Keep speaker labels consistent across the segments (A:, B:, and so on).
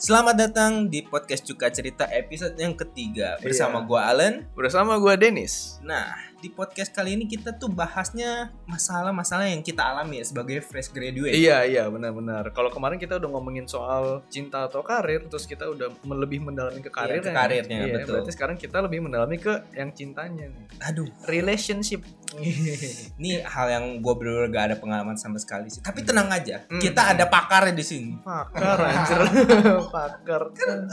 A: Selamat datang di podcast Cuka Cerita episode yang ketiga bersama
B: Iya.
A: gua Allen.
B: Bersama gua Dennis.
A: Nah, di podcast kali ini kita tuh bahasnya masalah-masalah yang kita alami ya sebagai fresh graduate.
B: Iya iya benar-benar. Kalau kemarin kita udah ngomongin soal cinta atau karir, terus kita udah me- lebih mendalami ke
A: Iya,
B: karir. ya. Iya,
A: ke karirnya, betul.
B: Berarti sekarang kita lebih mendalami ke yang cintanya nih.
A: Aduh,
B: Relationship.
A: ini hal yang gua bener-bener gak ada pengalaman sama sekali sih. Tapi tenang aja,
B: Hmm.
A: kita ada pakarnya di sini. Kan
B: Pakar anjir. Pakar.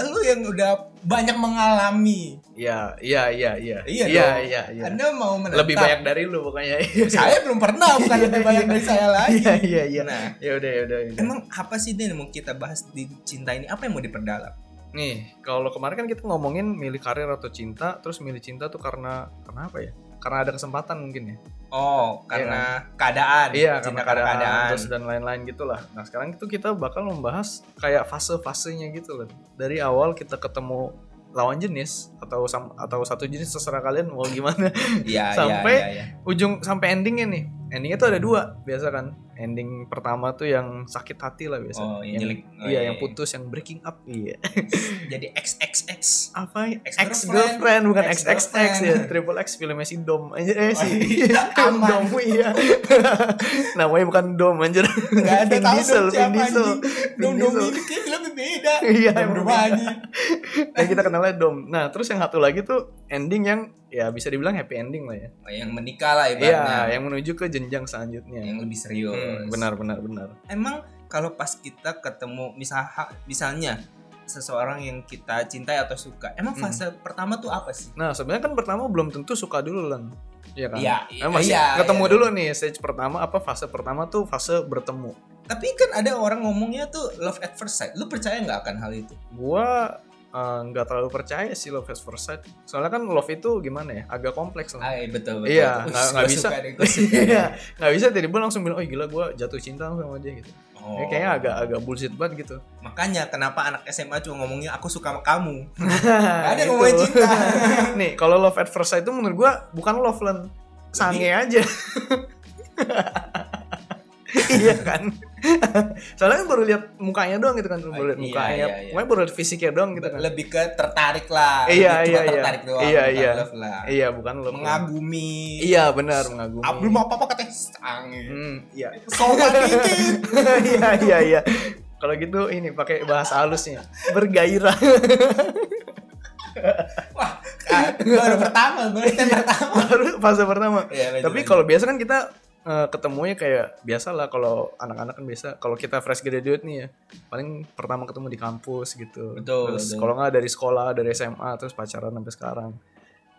A: Lu yang udah banyak mengalami.
B: Iya iya iya iya.
A: Iya
B: iya
A: dong.
B: iya. iya.
A: Anda mau menentang?
B: Lebih banyak dari lu pokoknya.
A: Saya belum pernah, bukan lebih banyak dari saya lagi.
B: Iya iya iya.
A: Nah,
B: Ya udah ya udah. ya udah.
A: Emang apa sih Din yang mau kita bahas di cinta ini? Apa yang mau diperdalam?
B: Nih, kalau kemarin kan kita ngomongin milih karir atau cinta, terus milih cinta tuh karena karena apa ya? Karena ada kesempatan mungkin ya.
A: Oh, karena keadaan.
B: Iya,
A: Cinta
B: karena keadaan, terus dan lain-lain gitulah. Nah, sekarang itu kita bakal membahas kayak fase-fasenya gitu loh. Dari awal kita ketemu lawan jenis atau sam- atau satu jenis terserah kalian mau gimana.
A: Iya,
B: Sampai
A: iya, iya,
B: Ujung sampai endingnya nih. Endingnya tuh ada dua biasa kan. Ending pertama tuh yang sakit hati lah
A: iya.
B: biasa.
A: Oh, yang jelek. Oh,
B: iya, yang putus, yang breaking up. Iya.
A: Jadi XXX.
B: Apa?
A: Ex-girlfriend.
B: Ex girlfriend bukan ex ex
A: Ex-girlfriend.
B: ya. Triple X filmnya si Dom. Anjir, eh si
A: Aman.
B: Dom iya. Namanya bukan Dom anjir.
A: Gak ada
B: Vin
A: tahu
B: Diesel,
A: dong siapa
B: Vin Diesel.
A: anjing. Dong
B: Vin
A: dong
B: Diesel.
A: ini kayak filmnya beda.
B: Iya,
A: Dong
B: emang
A: dong
B: beda.
A: anjing.
B: Nah, kita kenalnya Dom. Nah, terus yang satu lagi tuh ending yang ya bisa dibilang happy ending lah ya.
A: Oh, yang menikah lah
B: Iya,
A: ibaratnya.
B: yang menuju ke jenjang selanjutnya.
A: yang lebih serius.
B: Hmm, benar benar benar.
A: Emang kalau pas kita ketemu misal misalnya seseorang yang kita cintai atau suka, emang
B: Hmm.
A: fase pertama tuh apa sih?
B: Nah, sebenarnya kan pertama belum tentu suka dulu Lan. Iya kan?
A: Iya,
B: Nah, masih
A: iya,
B: ketemu
A: iya.
B: dulu nih stage pertama apa fase pertama tuh fase bertemu.
A: Tapi kan ada orang ngomongnya tuh love at first sight. Lu percaya nggak akan hal itu?
B: Gua eh, nggak terlalu percaya sih love at first sight. Soalnya kan love itu gimana ya? Agak kompleks lah.
A: Ah, iya, betul betul.
B: Iya,
A: Wih,
B: nggak-
A: gua
B: nggak bisa.
A: suka deh, gua suka.
B: Iya, nggak bisa tiba-tiba langsung bilang, oh gila gue jatuh cinta sama dia gitu.
A: Oh.
B: Ya, kayaknya agak agak bullshit banget gitu.
A: Makanya kenapa anak SMA cuma ngomongnya aku suka sama kamu. Nggak ada
B: Ada
A: yang ngomongin cinta.
B: Gitu. Nih, kalau love at first sight itu menurut gua bukan love lan. Sange aja. iya kan? Soalnya kan baru lihat mukanya doang gitu kan, baru lihat
A: Iya,
B: mukanya.
A: iya, iya.
B: Pokoknya baru lihat fisiknya doang gitu kan.
A: Lebih ke tertarik lah.
B: Iya,
A: Lebih cuma
B: iya, iya.
A: tertarik doang.
B: Iya,
A: bukan
B: iya.
A: love lah.
B: Iya, bukan love.
A: Mengagumi.
B: Iya, benar mengagumi.
A: Ah, belum apa-apa katanya sange.
B: Hmm, iya.
A: Sobat dikit.
B: Iya, iya, iya. Kalau gitu ini pakai bahasa halusnya bergairah.
A: Wah, ah, baru pertama, baru yang pertama.
B: baru fase pertama.
A: Iya, lanjut,
B: Tapi
A: lanjut.
B: kalau biasa kan kita eh, ketemunya kayak biasa lah kalau anak-anak kan biasa kalau kita fresh graduate nih ya paling pertama ketemu di kampus gitu.
A: Betul,
B: Terus
A: betul.
B: kalau nggak dari sekolah dari SMA terus pacaran sampai sekarang.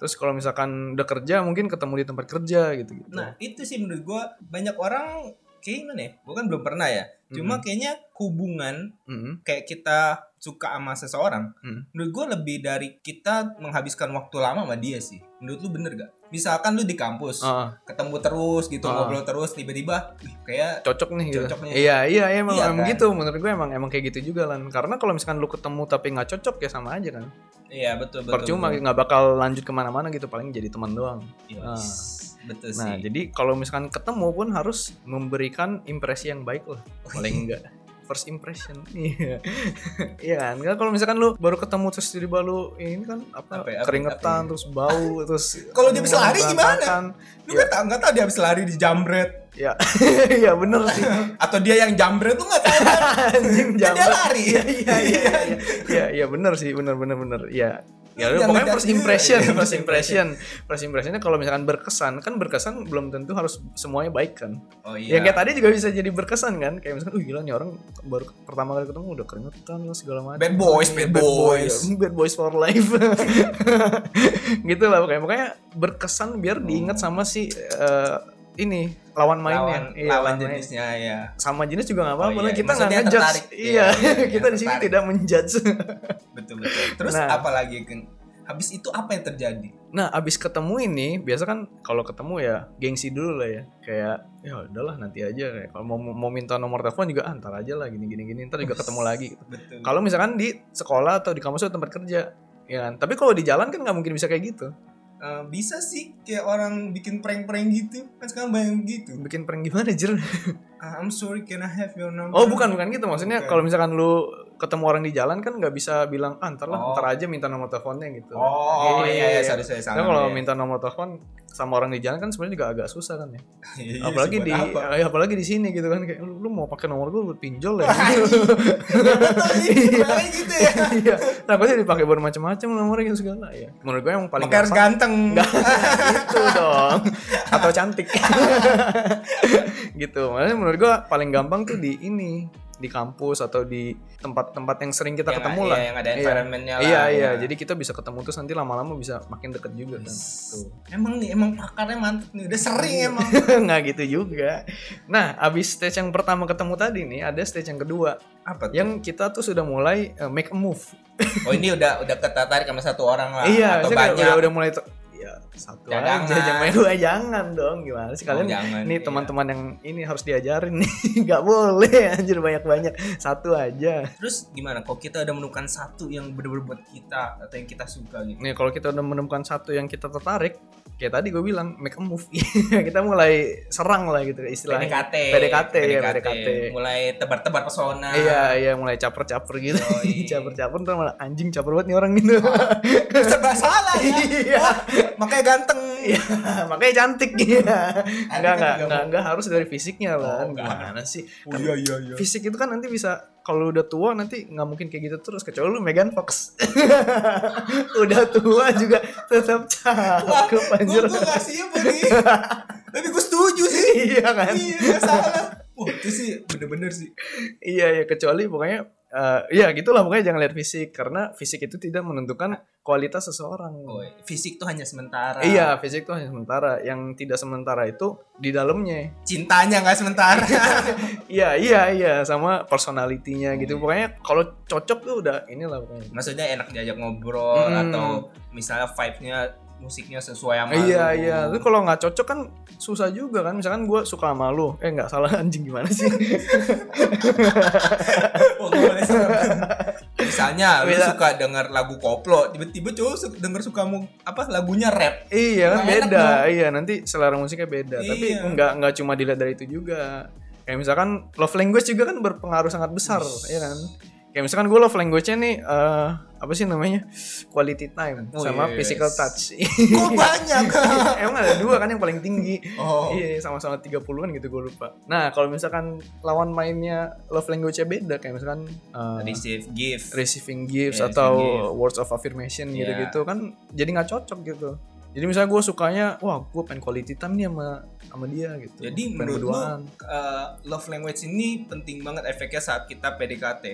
B: Terus kalau misalkan udah kerja mungkin ketemu di tempat kerja gitu gitu.
A: Nah, itu sih menurut gua banyak orang kayak gimana ya? Gua kan belum pernah ya. Cuma
B: Mm-mm.
A: kayaknya hubungan
B: Mm-mm.
A: kayak kita suka sama seseorang,
B: Mm.
A: menurut gue lebih dari kita menghabiskan waktu lama sama dia sih. Menurut lu bener gak? Misalkan lu di kampus,
B: Ah,
A: ketemu terus gitu,
B: Ah.
A: ngobrol terus, tiba-tiba, "Wih, kayak
B: cocok nih gitu.
A: Cocok nih.
B: Iya, iya emang,
A: Iya,
B: emang
A: kan?
B: gitu menurut gue emang emang kayak gitu juga lan. Karena kalau misalkan lu ketemu tapi nggak cocok ya sama aja kan.
A: iya betul betul.
B: Percuma
A: betul.
B: nggak bakal lanjut kemana-mana gitu paling jadi teman doang.
A: Yes,
B: Ah.
A: Betul
B: Nah,
A: sih.
B: jadi kalau misalkan ketemu pun harus memberikan impresi yang baik lah, paling enggak first impression. Iya. Iya kan? Kan kalau misalkan lu baru ketemu terus jadi balu ini kan apa,
A: Apa ya, apa-
B: keringetan
A: apa
B: terus bau terus
A: Kalau dia bisa lari gimana?
B: berantakan.
A: Lu nggak tau nggak tau dia habis lari di jambret
B: Ya. Iya bener sih.
A: atau dia yang jambret tuh nggak tahu.
B: Anjing
A: Kan dia
B: jambret.
A: lari.
B: Iya iya iya iya. Iya iya bener sih, bener bener bener. Iya. Ya,
A: Jangan
B: pokoknya
A: lihat
B: first
A: dia.
B: impression,
A: Iya,
B: first
A: first
B: impression, first impressionnya kalau misalkan berkesan, kan berkesan belum tentu harus semuanya baik kan.
A: Oh
B: Ya kayak tadi juga bisa jadi berkesan kan Kayak misalkan uh gila nih orang baru ke- pertama kali ketemu udah keringetan lah segala macam
A: Bad boys,
B: Iya,
A: bad boys.
B: boy. Bad boys for life Gitu lah pokoknya Makanya berkesan biar diingat sama si eh, ini lawan mainnya
A: lawan,
B: Iya,
A: lawan
B: main.
A: jenisnya ya.
B: sama jenis juga gak apa-apa
A: Oh,
B: lah
A: iya.
B: kita nggak
A: Maksudnya
B: ngejudge
A: tertarik.
B: iya
A: Iya, iya,
B: kita di sini
A: tertarik.
B: tidak menjudge
A: Betul betul. Terus
B: Nah.
A: apalagi Keng? Habis itu apa yang terjadi?
B: nah abis ketemu ini biasa kan kalau ketemu ya gengsi dulu lah ya kayak ya udahlah nanti aja kayak kalau mau mau minta nomor telepon juga ah, ntar aja lah gini gini gini ntar juga ketemu lagi
A: Betul.
B: Kalau misalkan di sekolah atau di kampus atau tempat kerja, ya kan. Tapi kalau di jalan kan nggak mungkin bisa kayak gitu.
A: Eh, bisa sih kayak orang bikin prank-prank gitu kan sekarang banyak gitu
B: Bikin prank gimana, Jir?
A: Ah, I'm sorry, can I have your number?
B: Oh, bukan bukan gitu. Maksudnya
A: Bukan.
B: kalau misalkan lu ketemu orang di jalan kan nggak bisa bilang ah, ntar lah
A: Oh.
B: ntar aja minta nomor teleponnya gitu
A: Oh, iya,
B: Iya,
A: iya,
B: iya.
A: sorry, sorry,
B: Karena
A: salah.
B: kalau
A: iya.
B: minta nomor telepon sama orang di jalan kan sebenarnya juga agak susah kan ya.
A: Iya, iya,
B: apalagi
A: buat
B: di
A: apa?
B: eh, apalagi di sini gitu kan kayak lu, lu mau pakai nomor gue buat pinjol ya.
A: Iya, gitu ya.
B: Iya. Takutnya dipakai buat macam-macam nomornya gitu segala ya. Menurut gue yang paling
A: Makanya harus
B: gampang
A: ganteng.
B: itu Gitu dong atau cantik. gitu. Makanya menurut gue paling gampang tuh di ini di kampus atau di tempat-tempat yang sering kita
A: Yang-
B: ketemu
A: iya,
B: lah.
A: Yang ada environmentnya lah.
B: Iya iya, jadi kita bisa ketemu terus nanti lama-lama bisa makin deket juga kan. Tuh.
A: Emang nih, emang pakarnya mantep nih. Udah sering
B: Iya.
A: emang.
B: nggak gitu juga. Nah, abis stage yang pertama ketemu tadi nih, ada stage yang kedua
A: Apa tuh?
B: yang kita tuh sudah mulai eh, make a move.
A: Oh ini udah udah tertarik sama satu orang lah.
B: iya,
A: atau
B: saya kayak
A: banyak.
B: udah udah mulai ter- ya satu
A: Jangan.
B: aja, jangan main dua jangan dong gimana sih
A: Oh,
B: kalian?
A: jangan,
B: Nih
A: iya.
B: teman-teman yang ini harus diajarin nih, nggak boleh anjir banyak-banyak satu aja.
A: Terus gimana? Kok kita udah menemukan satu yang bener-bener buat kita atau yang kita suka gitu?
B: Nih kalau kita udah menemukan satu yang kita tertarik, kayak tadi gue bilang make a move, kita mulai serang lah gitu istilahnya.
A: PDKT,
B: PDKT, iya, PDKT.
A: Mulai tebar-tebar pesona.
B: Iya iya mulai caper-caper gitu.
A: Yoi.
B: caper-caper ntar malah anjing caper banget nih orang gitu.
A: Serba salah ya.
B: Iya.
A: Wah, makanya ganteng.
B: Iya, makanya cantik iya. Enggak enggak
A: kan juga
B: enggak, enggak harus dari fisiknya
A: Oh,
B: lah.
A: enggak.
B: Gimana sih?
A: Oh, iya iya iya.
B: Fisik itu kan nanti bisa kalau udah tua nanti nggak mungkin kayak gitu terus kecuali lu Megan Fox. udah tua juga tetap cakep
A: Gue
B: anjir.
A: gue gak sibuk nih. Tapi gue setuju sih.
B: Iya kan?
A: Iya gak salah. Wah itu sih bener-bener sih.
B: Iya ya kecuali pokoknya eh, ya gitulah pokoknya jangan lihat fisik karena fisik itu tidak menentukan kualitas seseorang.
A: Oh, fisik tuh hanya sementara.
B: Iya, fisik itu hanya sementara. Yang tidak sementara itu di dalamnya.
A: Cintanya nggak sementara.
B: Iya, iya, iya, sama personalitinya
A: Oh,
B: gitu.
A: iya.
B: Pokoknya kalau cocok tuh udah inilah pokoknya.
A: Maksudnya enak diajak ngobrol
B: Hmm.
A: atau misalnya vibe-nya musiknya sesuai sama
B: Iya,
A: lu.
B: iya. Tapi kalau nggak cocok kan susah juga kan. Misalkan gue suka sama lu, eh nggak salah anjing gimana sih?
A: Oh, nggak boleh serem. Misalnya lu
B: Bisa.
A: suka denger lagu koplo, tiba-tiba cowok su- denger suka mu, apa lagunya rap.
B: iya kan
A: Nggak enak
B: beda.
A: dong.
B: Iya nanti selera musiknya beda. Tapi
A: Iya.
B: nggak nggak cuma dilihat dari itu juga. Kayak misalkan love language juga kan berpengaruh sangat besar,
A: Wih.
B: ya kan? Kayak misalkan gue love language-nya nih eh, apa sih namanya quality time
A: Oh,
B: sama
A: yes.
B: physical touch.
A: Kok banyak.
B: Emang ada dua kan yang paling tinggi.
A: oh.
B: Iya, sama-sama 30-an gitu gue lupa. Nah, kalau misalkan lawan mainnya love language-nya beda kayak misalkan eh,
A: Receive gift.
B: receiving gifts
A: Iya,
B: atau
A: receiving gift.
B: words of affirmation
A: Iya.
B: gitu-gitu kan jadi nggak cocok gitu. Jadi misalnya gue sukanya, wah gue pengen quality time nih sama sama dia gitu.
A: Jadi
B: Pengen
A: menurut lu
B: berduaan.
A: eh, love language ini penting banget efeknya saat kita PDKT.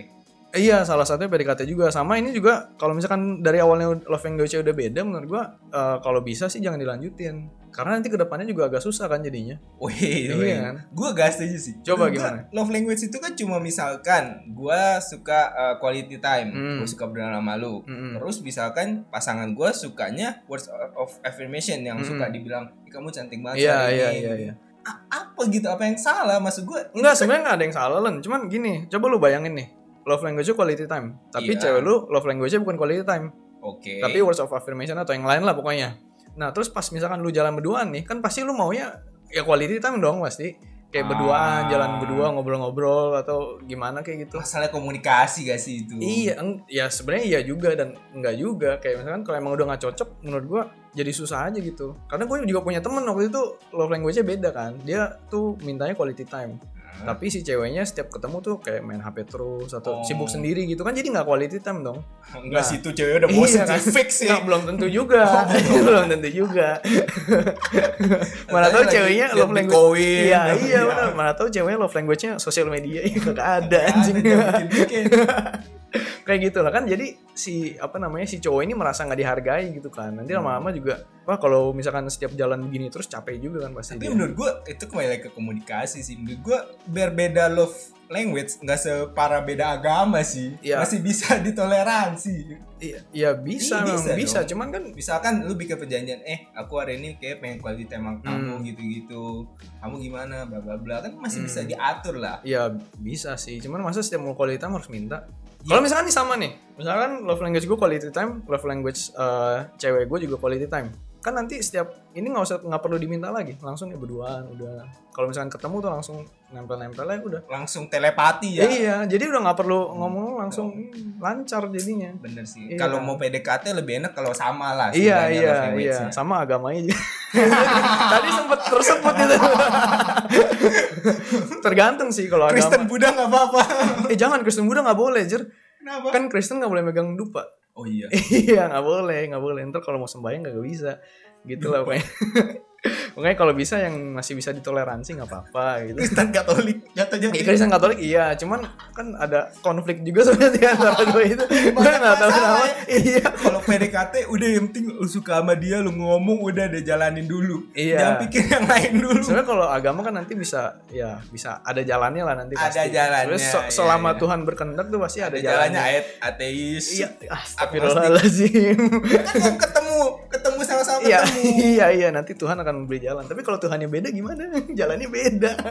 B: Eh, Iya, salah satunya PDKT juga. Sama ini juga kalau misalkan dari awalnya love language-nya udah beda menurut gue eh, kalau bisa sih jangan dilanjutin. Karena nanti kedepannya juga agak susah kan jadinya.
A: Wih,
B: Iya
A: wih.
B: kan?
A: Gue gak setuju sih.
B: Coba
A: Menurut
B: gimana?
A: gua, Love language itu kan cuma misalkan gue suka uh, quality time,
B: Hmm.
A: gue suka berdoa sama lu.
B: Mm-mm.
A: Terus misalkan pasangan gue sukanya words of affirmation yang
B: Mm-mm.
A: suka dibilang "Ih, kamu cantik banget
B: Hmm. Iya,
A: hari
B: iya,
A: ini."
B: iya, iya.
A: A- apa gitu? Apa yang salah? Maksud gue
B: Enggak, sebenarnya nggak ada yang salah Len. Cuman gini, coba lu bayangin nih. Love language quality time. Tapi
A: Iya.
B: cewek lu love language bukan quality time,
A: Oke.
B: tapi words of affirmation atau yang lain lah pokoknya. Nah, terus pas misalkan lu jalan berduaan nih, kan pasti lu maunya ya quality time dong pasti. Kayak berduaan,
A: Ah.
B: jalan berdua, ngobrol-ngobrol atau gimana kayak gitu.
A: masalah komunikasi gak sih itu?
B: Iya, eng- ya sebenarnya iya juga dan enggak juga. Kayak misalkan kalau emang udah nggak cocok, menurut gua jadi susah aja gitu. Karena gue juga punya temen waktu itu love language-nya beda kan. Dia tuh mintanya quality time.
A: Nah,
B: Tapi si ceweknya setiap ketemu tuh kayak main HP terus atau
A: Oh.
B: sibuk sendiri gitu kan jadi nggak quality time dong.
A: enggak
B: Nah.
A: sih itu cewek udah bosen sih
B: Iya, kan?
A: fix ya. sih.
B: Nah, belum tentu juga. belum tentu juga. mana
A: Tapi
B: tahu
A: lagi
B: ceweknya
A: liat
B: love language.
A: Bitcoin.
B: Iya, iya benar. Mana tahu ceweknya love language-nya sosial media ya kagak ada anjing.
A: Bikin-bikin.
B: kayak gitu lah kan jadi si apa namanya si cowok ini merasa nggak dihargai gitu kan.
A: Hmm.
B: Nanti lama-lama juga wah kalau misalkan setiap jalan begini terus capek juga kan pasti.
A: Tapi
B: dia.
A: menurut gue itu kembali lagi ke komunikasi sih. Menurut gue berbeda love language nggak separah beda agama sih.
B: Iya.
A: Masih bisa ditoleransi.
B: Iya, ya bisa,
A: Iya,
B: memang
A: bisa
B: bisa.
A: dong.
B: Cuman kan
A: Misalkan lu bikin perjanjian, eh aku hari ini kayak pengen quality time sama kamu
B: Hmm.
A: gitu-gitu. Kamu gimana bla bla bla kan masih
B: Hmm.
A: bisa diatur lah.
B: Ya bisa sih, cuman masa setiap mau quality time harus minta?
A: Iya.
B: Kalau misalkan nih sama nih, misalkan love language gue quality time, love language eh, cewek gue juga quality time. kan nanti setiap ini nggak usah nggak perlu diminta lagi langsung ya berduaan udah kalau misalkan ketemu tuh langsung nempel-nempel aja udah
A: langsung telepati ya
B: iya jadi udah nggak perlu ngomong langsung hmm, lancar jadinya
A: bener sih
B: Iya.
A: kalau mau PDKT lebih enak kalau sama lah sebenarnya
B: iya iya
A: love language-nya.
B: iya sama agamanya juga. tadi sempet tersebut itu tergantung sih kalau
A: Kristen
B: agama
A: Buddha nggak apa-apa
B: eh jangan Kristen Buddha nggak boleh jer
A: kenapa
B: kan Kristen nggak boleh megang dupa
A: oh iya
B: iya nggak boleh nggak boleh ntar kalau mau sembahyang nggak bisa gitu lah pokoknya Pokoknya kalau bisa yang masih bisa ditoleransi nggak apa-apa gitu
A: Kristen Katolik jatuhnya
B: Eh, Kristen Katolik iya, cuman kan ada konflik juga sebenarnya di antara dua itu. Gue
A: Banyak
B: nggak tahu
A: masalah
B: kenapa.
A: ya.
B: Iya.
A: kalau PDKT udah yang penting lu suka sama dia lu ngomong udah deh jalanin dulu
B: Iya.
A: jangan pikir yang lain dulu
B: Sebenarnya kalau agama kan nanti bisa ya bisa ada jalannya lah nanti
A: Ada
B: pasti.
A: jalannya,
B: Sebenarnya so-
A: iya,
B: selama
A: iya.
B: Tuhan berkehendak tuh pasti ada,
A: ada
B: jalannya.
A: jalannya ayat ateis
B: Iya, astagfirullahalazim.
A: kan mau ketemu ketemu sama-sama
B: Iya,
A: ketemu
B: iya, iya, nanti Tuhan akan memberi jalan. Tapi kalau Tuhannya beda gimana? Jalannya beda.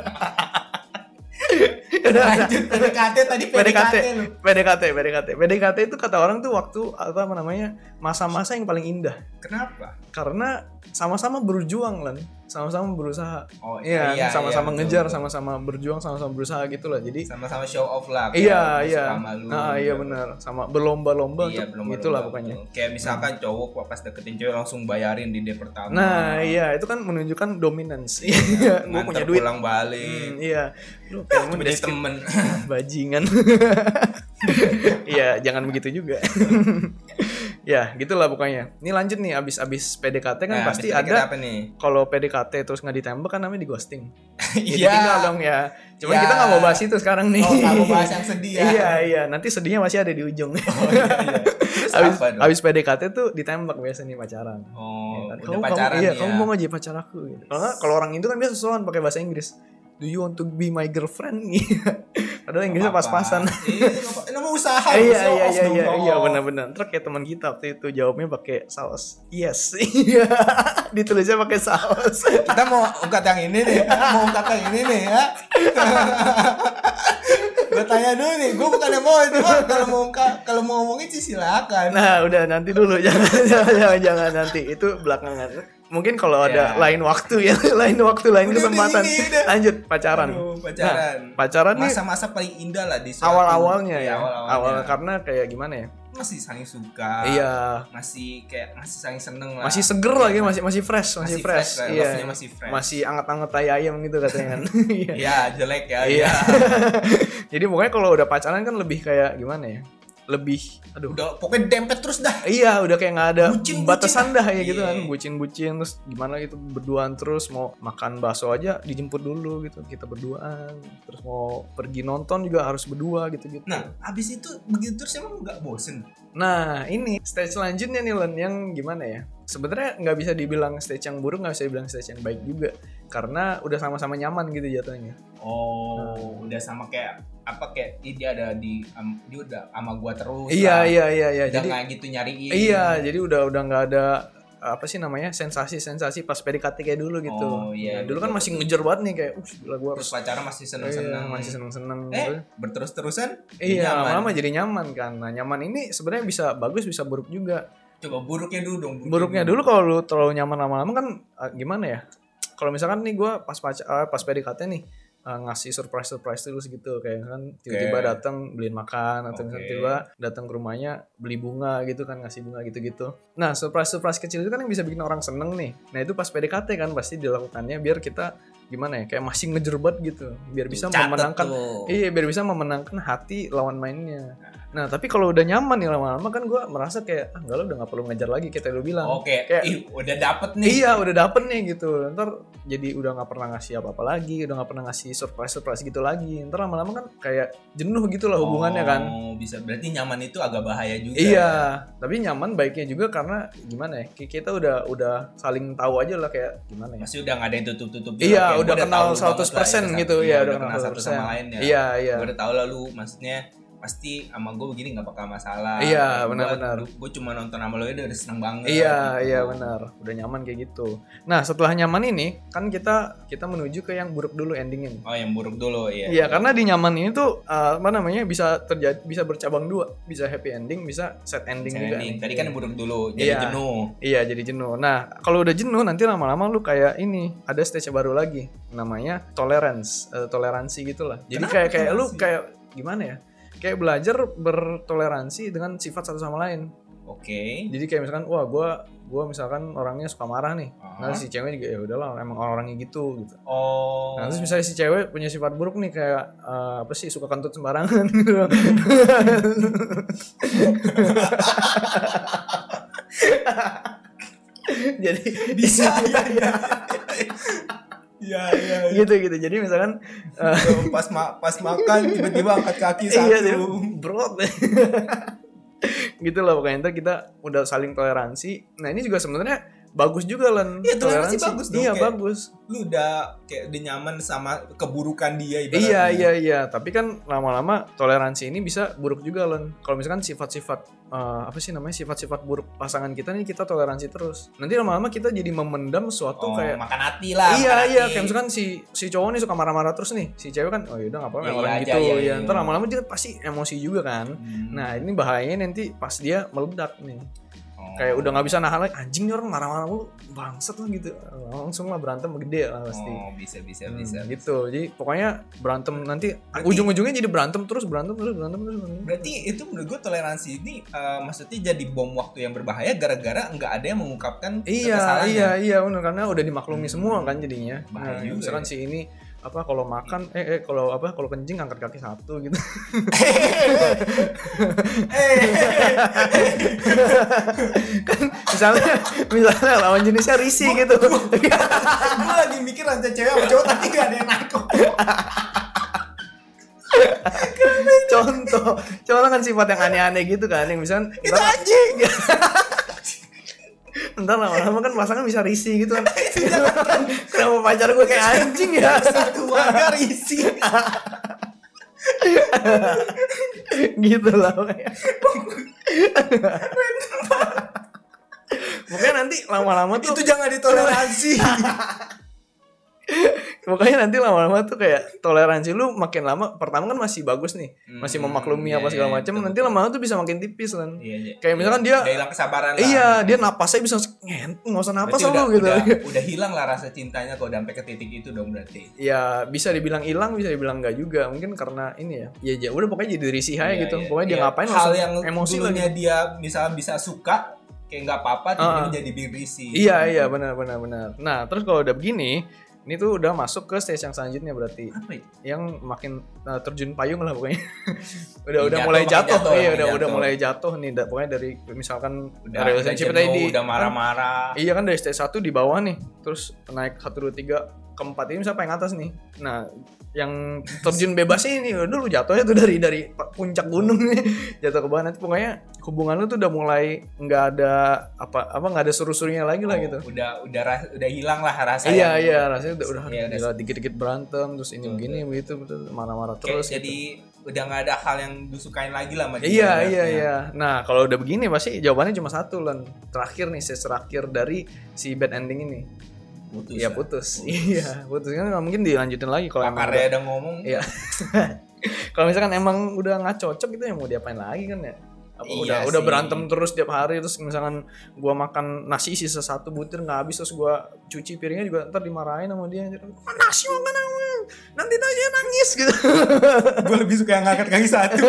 B: Udah, udah.
A: lanjut PDKT tadi PDKT,
B: PDKT,
A: lu
B: PDKT, PDKT. PDKT itu kata orang tuh waktu apa namanya? masa-masa yang paling indah.
A: kenapa
B: karena sama-sama berjuang lan sama-sama berusaha
A: oh
B: iya kan? sama-sama
A: betul,
B: ngejar
A: betul.
B: sama-sama berjuang sama-sama berusaha gitu lah jadi
A: sama-sama show off lah kayak
B: iya
A: aku
B: iya
A: suka sama lu. gitu.
B: nah, iya benar sama berlomba-lomba
A: Iya,
B: untuk
A: belum
B: itulah
A: belum-
B: pokoknya
A: belum. Kayak misalkan cowok kok pas deketin cewek langsung bayarin di day pertama.
B: nah iya itu kan menunjukkan dominance iya gue
A: Nganter
B: punya duit
A: pulang balik.
B: Hmm, iya lu kamu
A: Cuma
B: udah
A: jadi temen
B: bajingan iya jangan begitu juga ya gitulah pokoknya ini lanjut nih abis-abis PDKT kan
A: Nah,
B: pasti
A: habis tadi kita
B: ada
A: apa nih?
B: kalau PDKT terus nggak ditembak kan namanya di ghosting Iya.
A: Iya.
B: dong ya. Cuman
A: Ya.
B: kita nggak mau bahas itu sekarang nih.
A: Oh, nggak mau bahas yang sedih ya.
B: iya iya. Nanti sedihnya masih ada di ujung.
A: Oh, iya, iya. Terus
B: Abis,
A: apa dong?
B: abis PDKT tuh ditembak biasa nih pacaran.
A: Oh,
B: Ya kan?
A: udah pacaran
B: kamu, iya,
A: ya.
B: kamu mau nggak jadi pacar aku? Gitu. Kalau nggak, kalau orang itu kan biasa sosokan pakai bahasa Inggris. Do you want to be my girlfriend? Iya. Padahal Inggrisnya
A: Apa-apa.
B: pas-pasan.
A: Iya, nama- nama usaha.
B: Eh, iya
A: show
B: iya
A: off
B: iya
A: dong,
B: iya
A: show
B: iya
A: off.
B: benar-benar. Terus kayak teman kita waktu itu jawabnya pakai saus. Yes. Iya. Ditulisnya pakai saus.
A: Kita mau ungkat yang ini nih, mau ungkat yang ini nih ya. gue tanya dulu nih, gue bukan yang mau, cuma kalau mau ungka- kalau mau ngomongin sih silakan.
B: Nah, udah nanti dulu jangan jangan jangan, jangan. nanti itu belakangan. Mungkin kalau
A: Ya.
B: ada lain waktu ya, lain waktu, lain
A: Udah, udah,
B: kesempatan.
A: ini, udah.
B: Lanjut pacaran.
A: Aduh, pacaran.
B: Nah, pacaran nih
A: masa-masa paling indah lah di suatu-
B: awal-awalnya
A: iya,
B: ya. Awal
A: awal-awalnya.
B: karena kayak gimana ya?
A: masih saling suka
B: Iya,
A: Nah. masih kayak masih saling seneng lah
B: masih seger lagi, masih masih fresh, masih, fresh.
A: lah,
B: Iya.
A: love-nya masih fresh
B: Masih anget-anget tai ayam gitu katanya kan. Iya.
A: iya jelek ya
B: Iya.
A: iya
B: Jadi pokoknya kalau udah pacaran kan lebih kayak gimana ya? Lebih aduh
A: udah pokoknya dempet terus dah
B: Iya, udah kayak nggak ada
A: Bucin-bucin
B: batasan dah ya gitu
A: Iya.
B: kan, bucin-bucin terus gimana gitu berduaan terus mau makan bakso aja dijemput dulu gitu, kita berduaan, terus mau pergi nonton juga harus berdua gitu-gitu.
A: nah abis itu begitu terus emang nggak bosen
B: Nah, ini stage selanjutnya nih Len yang gimana ya? Sebenarnya nggak bisa dibilang stage yang buruk, nggak bisa dibilang stage yang baik juga, karena udah sama-sama nyaman gitu jatuhnya.
A: oh udah sama kayak apa kayak "Ih, dia ada di am- dia udah sama gua terus
B: Iya, iya, iya, iya.
A: jadi
B: Jadi
A: gitu nyariin
B: iya, jadi udah udah nggak ada apa sih namanya sensasi-sensasi pas PDKT kayak dulu gitu.
A: Oh, iya,
B: Nah, dulu
A: betul.
B: kan masih ngejar banget nih kayak, uh, gila gue harus
A: terus pacaran masih
B: seneng
A: seneng-seneng
B: Iya, masih seneng-seneng.
A: Eh,
B: Terus-
A: berterus-terusan
B: iya,
A: nyaman.
B: lama jadi nyaman kan. Nah, nyaman ini sebenarnya bisa bagus, bisa buruk juga.
A: coba buruknya dulu dong
B: Buruknya dulu kalau lu terlalu nyaman lama-lama kan eh, gimana ya? Kalau misalkan nih gua pas pacar pas PDKT nih eh, ngasih surprise surprise terus gitu kayak kan
A: Oke.
B: tiba-tiba datang beliin makan atau
A: Oke.
B: misalkan tiba datang ke rumahnya beli bunga gitu kan ngasih bunga gitu-gitu. Nah, surprise surprise kecil itu kan yang bisa bikin orang seneng nih. Nah, itu pas PDKT kan pasti dilakukannya biar kita gimana ya? Kayak masih ngejerbat gitu, biar bisa
A: Catet
B: memenangkan
A: tuh.
B: Iya biar bisa memenangkan hati lawan mainnya. Nah tapi kalau udah nyaman nih lama-lama kan gue merasa kayak ah enggak lo udah nggak perlu ngejar lagi kita lu bilang.
A: Oke,
B: Kayak-
A: ih udah dapet nih.
B: Iya udah dapet nih gitu Ntar jadi udah nggak pernah ngasih apa-apa lagi Udah nggak pernah ngasih surprise-surprise gitu lagi Ntar lama-lama kan kayak jenuh gitu lah hubungannya kan
A: Oh, bisa berarti nyaman itu agak bahaya juga.
B: Iya, tapi nyaman baiknya juga karena gimana ya? Kayak Kita udah udah saling tahu aja lah kayak gimana ya.
A: Masih udah nggak ada yang tutup-tutup.
B: Iya, udah kenal 100%
A: persen
B: gitu. Iya,
A: udah
B: udah
A: kenal
B: kenal
A: satu sama
B: 100%.
A: lain ya.
B: Iya, iya.
A: Gua udah tahu lalu maksudnya pasti sama gue begini nggak bakal masalah
B: Iya, benar-benar.
A: gue cuma nonton sama lo aja udah seneng banget
B: Iya,
A: gitu.
B: iya benar. Udah nyaman kayak gitu. Nah, setelah nyaman ini kan kita kita menuju ke yang buruk dulu endingnya. nih.
A: oh yang buruk dulu iya
B: Iya, karena di nyaman ini tuh eh, apa namanya bisa terjadi bisa bercabang dua, bisa happy ending, bisa sad ending
A: Sad
B: juga.
A: ending.
B: nih.
A: tadi kan yang buruk dulu jadi
B: Iya.
A: jenuh
B: Iya, jadi jenuh. Nah, kalau udah jenuh nanti lama-lama lu kayak ini, ada stage baru lagi namanya tolerance, eh, toleransi gitulah. Jadi
A: Kenapa
B: kayak kayak lu
A: toleransi?
B: kayak gimana ya? Kayak belajar bertoleransi dengan sifat satu sama lain.
A: oke
B: Jadi kayak misalkan, wah gua gua misalkan orangnya suka marah nih. Nah,
A: Ah.
B: si cewek juga ya udahlah emang orang-orangnya gitu gitu.
A: oh
B: Nah, terus misalnya si cewek punya sifat buruk nih kayak eh, apa sih suka kentut sembarangan gitu. Jadi
A: bisa ya ya ya ya, ya.
B: gitu gitu. Jadi misalkan eh,
A: Tuh, pas ma- pas makan tiba-tiba angkat kaki satu
B: iya dia
A: um."
B: bro. gitu lah pokoknya ntar kita udah saling toleransi. Nah, ini juga sebenarnya bagus juga Len.
A: Iya, toleransi bagus dong,
B: Iya,
A: kayak-
B: bagus.
A: lu udah kayak udah nyaman sama keburukan dia ibaratnya.
B: Iya iya
A: gitu.
B: iya, tapi kan lama-lama toleransi ini bisa buruk juga Len. Kalau misalkan sifat-sifat eh, apa sih namanya sifat-sifat buruk pasangan kita nih kita toleransi terus. Nanti lama-lama kita jadi memendam
A: oh,
B: suatu kayak
A: makan hati lah
B: iya
A: makan
B: iya,
A: hati.
B: kayak misalkan si si cowok nih suka marah-marah terus nih, si cewek kan oh yaudah nggak apa-apa
A: Iya,
B: orang
A: iya aja,
B: gitu
A: iya,
B: ya.
A: iya,
B: Ntar
A: iya.
B: lama-lama dia pasti emosi juga kan.
A: Hmm.
B: Nah ini bahayanya nanti pas dia meledak nih,
A: Oh.
B: kayak udah nggak bisa nahan lagi anjing nih orang marah-marah mulu bangsat lah gitu, langsung lah berantem gede lah pasti.
A: oh bisa bisa
B: Hmm,
A: bisa
B: gitu jadi pokoknya berantem nanti ujung-ujungnya jadi berantem terus berantem terus berantem terus berantem.
A: Berarti itu menurut gue toleransi ini eh, maksudnya jadi bom waktu yang berbahaya gara-gara nggak ada yang mengungkapkan
B: iya
A: kekesalannya.
B: iya iya benar karena udah dimaklumi
A: Hmm.
B: semua kan jadinya
A: Bahaya
B: nah,
A: juga
B: misalkan
A: ya.
B: si ini apa kalau makan eh, eh kalau apa kalau kencing angkat kaki satu gitu
A: Eh,
B: misalnya misalnya lawan jenisnya risih gitu
A: gue lagi mikir rantai cewek sama cowok tapi gak ada yang nangkep.
B: contoh contoh kan sifat yang aneh-aneh gitu kan yang misalnya
A: Itu anjing.
B: ntar lama-lama kan pasangan bisa risih gitu kan kenapa pacar gue kayak anjing ya
A: Satu warga risih.
B: gitu lah pokoknya. pokoknya nanti lama-lama tuh
A: Itu jangan ditoleransi.
B: pokoknya nanti lama-lama tuh kayak toleransi lu makin lama pertama kan masih bagus nih masih
A: Hmm,
B: memaklumi
A: iya,
B: apa segala
A: iya,
B: macam
A: betul,
B: nanti
A: betul.
B: lama-lama tuh bisa makin tipis kan
A: Iya, iya.
B: Kayak misalkan dia-
A: Udah hilang kesabaran lah.
B: iya dia napasnya bisa ngent nggak usah napas
A: Berarti
B: sama
A: udah,
B: lu gitu
A: udah, udah hilang lah rasa cintanya kalau udah sampai ke titik itu dong berarti.
B: ya bisa dibilang hilang bisa dibilang enggak juga mungkin karena ini ya ya, ya udah pokoknya jadi risih aja
A: Iya,
B: gitu
A: iya.
B: pokoknya dia
A: Iya.
B: ngapain
A: hal
B: langsung
A: yang
B: emosi lagi
A: dulunya dia misalnya bisa suka kayak nggak apa-apa tiba-tiba
B: Ah.
A: jadi birisi
B: Iya iya benar benar benar. Nah terus kalau udah begini, ini tuh udah masuk ke stage yang selanjutnya berarti
A: apa ya? itu
B: yang makin eh, terjun payung lah pokoknya.
A: Makin
B: udah udah
A: jatuh,
B: mulai
A: makin
B: jatuh,
A: jatuh,
B: iya
A: makin
B: udah udah
A: jatuh.
B: mulai jatuh nih. Da- Pokoknya dari misalkan
A: udah
B: relationship
A: udah
B: tadi
A: jenuh,
B: di
A: udah marah-marah
B: Iya kan dari stage 1 di bawah nih, terus naik 1 2 3 keempat ini misalnya paling atas nih. Nah, yang terjun bebas ini udah lu jatuhnya tuh dari dari puncak gunung nih jatuh ke bawah nanti pokoknya hubungan lu tuh udah mulai nggak ada apa apa nggak ada seru-serunya lagi lah
A: Oh,
B: gitu.
A: udah udah ras- udah hilang lah rasa yang-
B: Iya iya rasanya udah udah
A: Iya, udah.
B: gila, dikit-dikit berantem terus ini
A: Betul,
B: begini begitu betul, marah-marah
A: Kayak
B: terus. gitu.
A: jadi udah nggak ada hal yang disukain lagi lah sama dia ya.
B: Iya
A: ibaratnya.
B: iya iya. Nah kalau udah begini pasti jawabannya cuma satu lan terakhir nih sesi terakhir dari si bad ending ini.
A: putus ya.
B: Iya
A: lah.
B: putus. Iya putus kan nggak mungkin dilanjutin lagi kalau emang
A: pakarnya udah ngomong
B: Iya. kalau misalkan emang udah nggak cocok gitu ya mau diapain lagi kan ya. Apa,
A: Iya
B: udah udah
A: sih.
B: berantem terus tiap hari terus misalkan gua makan nasi sisa satu butir nggak habis terus gua cuci piringnya juga ntar dimarahin sama dia "Makan nasi makan apa? nanti nasi nangis gitu
A: gue lebih suka yang ngangkat kaki satu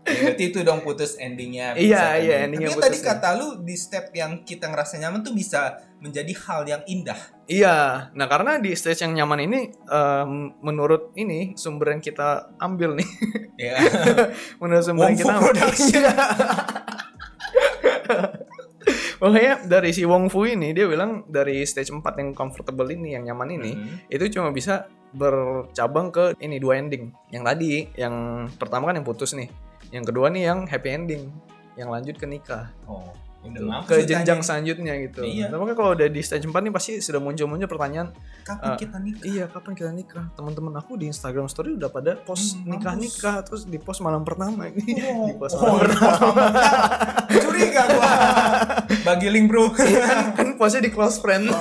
A: Ya, berarti itu dong putus endingnya
B: Iya,
A: putus
B: iya,
A: ending.
B: endingnya
A: tapi
B: putus
A: tadi
B: ya.
A: kata lu di step yang kita ngerasa nyaman tuh bisa menjadi hal yang indah
B: Iya, nah karena di stage yang nyaman ini, em, menurut ini sumber yang kita ambil nih,
A: ya
B: menurut sumber yang
A: Wongfu
B: kita ambil.
A: Production.
B: Iya. Makanya dari si Wong Fu ini dia bilang dari stage 4 yang comfortable ini, yang nyaman ini,
A: Mhm.
B: itu cuma bisa bercabang ke ini dua ending. Yang tadi, yang pertama kan yang putus nih, yang kedua nih yang happy ending, yang lanjut ke nikah.
A: oh Udah
B: gitu.
A: maaf sih
B: ke
A: tanya.
B: jenjang selanjutnya gitu.
A: Iya.
B: Nah, makanya kalau udah di stage 4 nih pasti sudah muncul-muncul pertanyaan,
A: kapan
B: eh,
A: kita nikah?
B: iya kapan kita nikah? Teman-teman aku di Instagram story udah pada post
A: Hmm,
B: nikah-nikah terus di post malam pertama ini.
A: Oh,
B: di post
A: oh, di
B: malam
A: pos malam pertama. Curiga gua. Bagi link, Bro.
B: kan postnya di close friend.
A: Oh.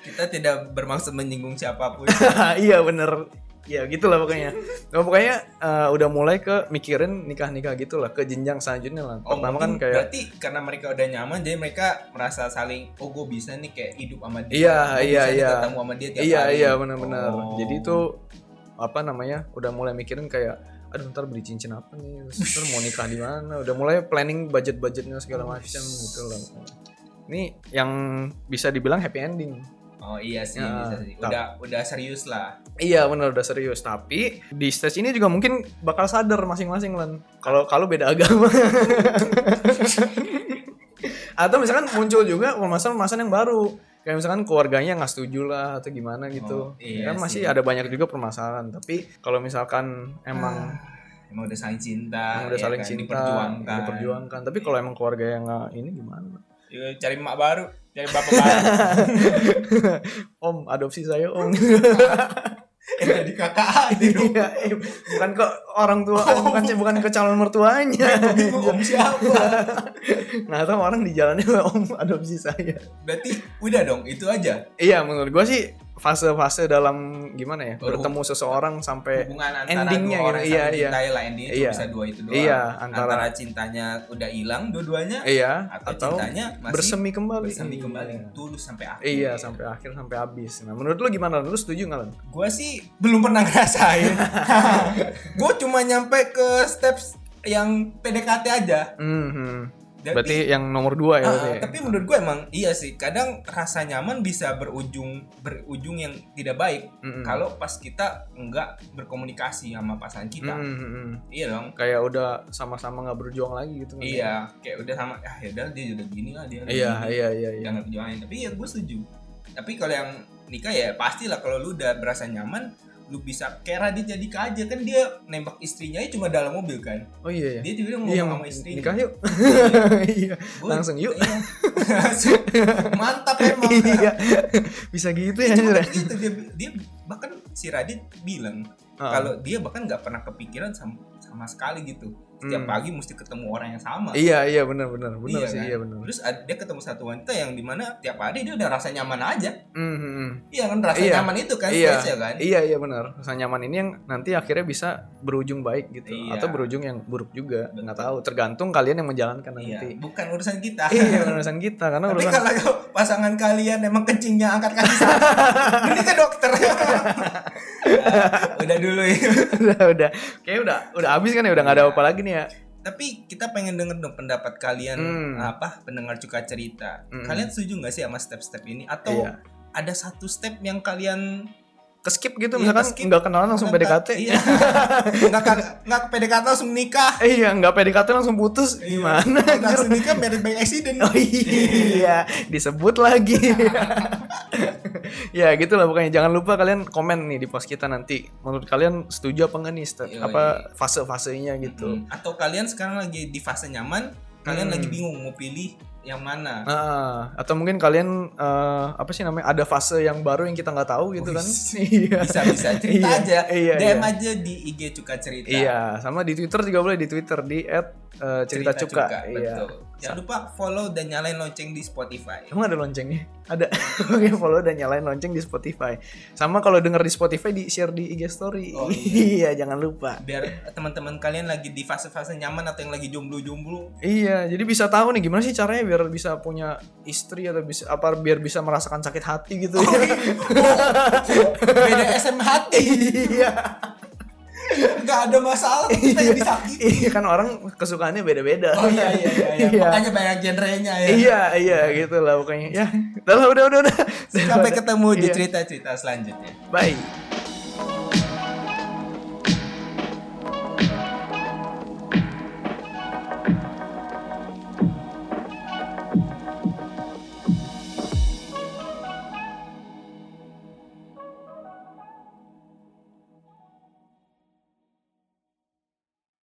A: kita tidak bermaksud menyinggung siapapun.
B: iya bener ya gitulah pokoknya nah, pokoknya eh, udah mulai ke mikirin nikah nikah gitulah ke jenjang selanjutnya lah
A: Oh,
B: pertama kan
A: mungkin
B: kayak
A: berarti karena mereka udah nyaman jadi mereka merasa saling oh gue bisa nih kayak hidup sama dia.
B: Iya,
A: Gua
B: iya,
A: bisa nih
B: iya.
A: Ketemu sama dia tiap
B: iya
A: hari.
B: iya benar-benar
A: Oh.
B: jadi itu apa namanya udah mulai mikirin kayak aduh ntar beli cincin apa nih terus ntar mau nikah di mana udah mulai planning budget budgetnya segala macam gitu lah ini yang bisa dibilang happy ending
A: Oh iya sih
B: Ya,
A: bisa sih.
B: tau.
A: Udah udah serius lah.
B: Iya benar udah serius tapi di stage ini juga mungkin bakal sadar masing-masing lan kalau kalau beda agama atau misalkan muncul juga permasalahan-permasalahan yang baru kayak misalkan keluarganya nggak setuju lah atau gimana gitu
A: Oh, iya
B: kan masih
A: sih.
B: ada banyak juga permasalahan tapi kalau misalkan emang
A: Ah, emang udah saling cinta.
B: emang udah
A: ya
B: saling
A: kan?
B: cinta
A: diperjuangkan.
B: diperjuangkan. tapi kalau emang keluarga yang nggak ini gimana
A: Iya, cari emak baru, cari bapak baru.
B: om adopsi saya om
A: eh jadi kakak aja dong.
B: Iya, eh, bukan ke orang tua bukan bukan ke calon mertuanya
A: Bingung om siapa.
B: Nah, tahu orang di jalannya om adopsi saya.
A: Berarti udah dong itu aja.
B: Iya, menurut gua sih fase-fase dalam gimana ya
A: Baru-
B: bertemu seseorang sampai
A: hubungan antara
B: endingnya
A: dua orang
B: gitu. Iya,
A: saling
B: iya.
A: cintai lah endingnya
B: Iya.
A: cuma bisa dua itu doang
B: Iya,
A: antara,
B: antara-
A: cintanya udah hilang dua-duanya
B: iya
A: atau,
B: atau,
A: cintanya masih bersemi,
B: bersemi kembali. Iya.
A: kembali tulus sampai akhir
B: Iya, sampai akhir sampai habis. Nah, menurut lu gimana? Lu setuju nggak? Lan?
A: gue sih belum pernah ngerasain gue cuma nyampe ke steps yang PDKT aja
B: Mhm.
A: Jadi-
B: Berarti yang nomor dua
A: Hmm.
B: ya.
A: Ah,
B: berarti ya?
A: tapi menurut gue emang iya sih kadang rasa nyaman bisa berujung berujung yang tidak baik
B: Mhm.
A: kalau pas kita nggak berkomunikasi sama pasangan kita
B: Mhm, mhm.
A: iya dong
B: kayak udah sama-sama nggak berjuang lagi gitu kan?
A: Iya, kayak udah sama ah ya udah dia udah gini lah dia. udah
B: Iya,
A: gini.
B: iya, iya, iya.
A: Jangan perjuangin. Tapi ya gue setuju. Tapi kalau yang nikah ya pastilah kalau lu udah berasa nyaman, lu bisa kayak Radit jadi aja kan dia nembak istrinya aja cuma dalam mobil kan.
B: Oh iya ya.
A: Dia tiba-tiba ngomong
B: Iya,
A: sama istrinya.
B: nikah yuk. Iya.
A: Gua-
B: Langsung yuk.
A: Iya. Langsung. Mantap emang.
B: Iya. Bisa gitu ya.
A: Cuma
B: Jir.
A: kayak gitu dia, dia bahkan si Radit bilang
B: Ah.
A: kalau dia bahkan nggak pernah kepikiran sama, sama sekali gitu. Setiap
B: Hmm.
A: pagi mesti ketemu orang yang sama.
B: Iya iya benar benar
A: Iya,
B: benar sih
A: kan?
B: iya benar.
A: Terus ada- dia ketemu satu wanita yang dimana tiap hari dia udah rasa nyaman aja.
B: Mm, mm, mm.
A: Iya kan rasa
B: Iya.
A: nyaman itu kan
B: Iya.
A: stage-nya kan.
B: Iya iya benar. Rasa nyaman ini yang nanti akhirnya bisa berujung baik gitu
A: Iya.
B: atau berujung yang buruk juga
A: Betul.
B: nggak tahu tergantung kalian yang menjalankan
A: Iya.
B: nanti.
A: Bukan urusan kita.
B: Iya iya bukan urusan kita karena
A: Tapi kan
B: urusan
A: kalau pasangan kalian emang kencingnya angkat kaki satu, mending ke dokter. Ya, udah dulu ya.
B: udah udah kayak udah udah habis kan ya udah nggak
A: Iya.
B: ada apa lagi nih ya.
A: Tapi kita pengen denger dong pendapat kalian
B: Hmm.
A: apa pendengar cuka cerita.
B: Mm-mm.
A: Kalian setuju nggak sih sama step-step ini atau
B: Iya.
A: ada satu step yang kalian
B: Keskip gitu
A: Iya,
B: misalkan
A: keskip.
B: nggak kenalan langsung PDKT.
A: Iya. Nggak nggak PDKT langsung nikah.
B: Eh, iya nggak PDKT langsung putus gimana?
A: Iya.
B: anjir?
A: Langsung nikah married by accident.
B: Oh iya, disebut lagi. ya gitulah pokoknya jangan lupa kalian komen nih di post kita nanti. Menurut kalian setuju apa enggak nih sta-
A: Yoi.
B: apa fase-fasenya gitu.
A: Mm. Atau kalian sekarang lagi di fase nyaman, kalian
B: Hmm.
A: lagi bingung mau pilih yang mana.
B: Nah, atau mungkin kalian eh, apa sih namanya ada fase yang baru yang kita nggak tahu gitu kan?
A: Wih,
B: Iya.
A: Bisa bisa cerita
B: Iya,
A: aja.
B: iya,
A: DM
B: iya.
A: aja di IG Cuka Cerita.
B: Iya, sama di Twitter juga boleh di Twitter di eh, @cerita cuka. Iya.
A: Betul. Jangan lupa follow dan nyalain lonceng di Spotify.
B: Emang ada loncengnya? Ada. Oke, follow dan nyalain lonceng di Spotify. Sama kalau denger di Spotify di share di IG story.
A: Oh,
B: iya, jangan lupa.
A: Biar teman-teman kalian lagi di fase-fase nyaman atau yang lagi jomblo-jomblo.
B: Iya, jadi bisa tahu nih gimana sih caranya biar bisa punya istri atau bisa apa biar bisa merasakan sakit hati gitu. ya.
A: Beda SM hati.
B: iya.
A: Nggak ada masalah kita yang disakiti.
B: Iya kan orang kesukaannya beda-beda.
A: gitu. Oh iya iya iya. iya.
B: Iya.
A: Makanya banyak genrenya ya.
B: Iya, iya gitu lah pokoknya. Ya, udah lah, udah udah udah.
A: Sampai ketemu di
B: Iya.
A: cerita-cerita selanjutnya.
B: Bye.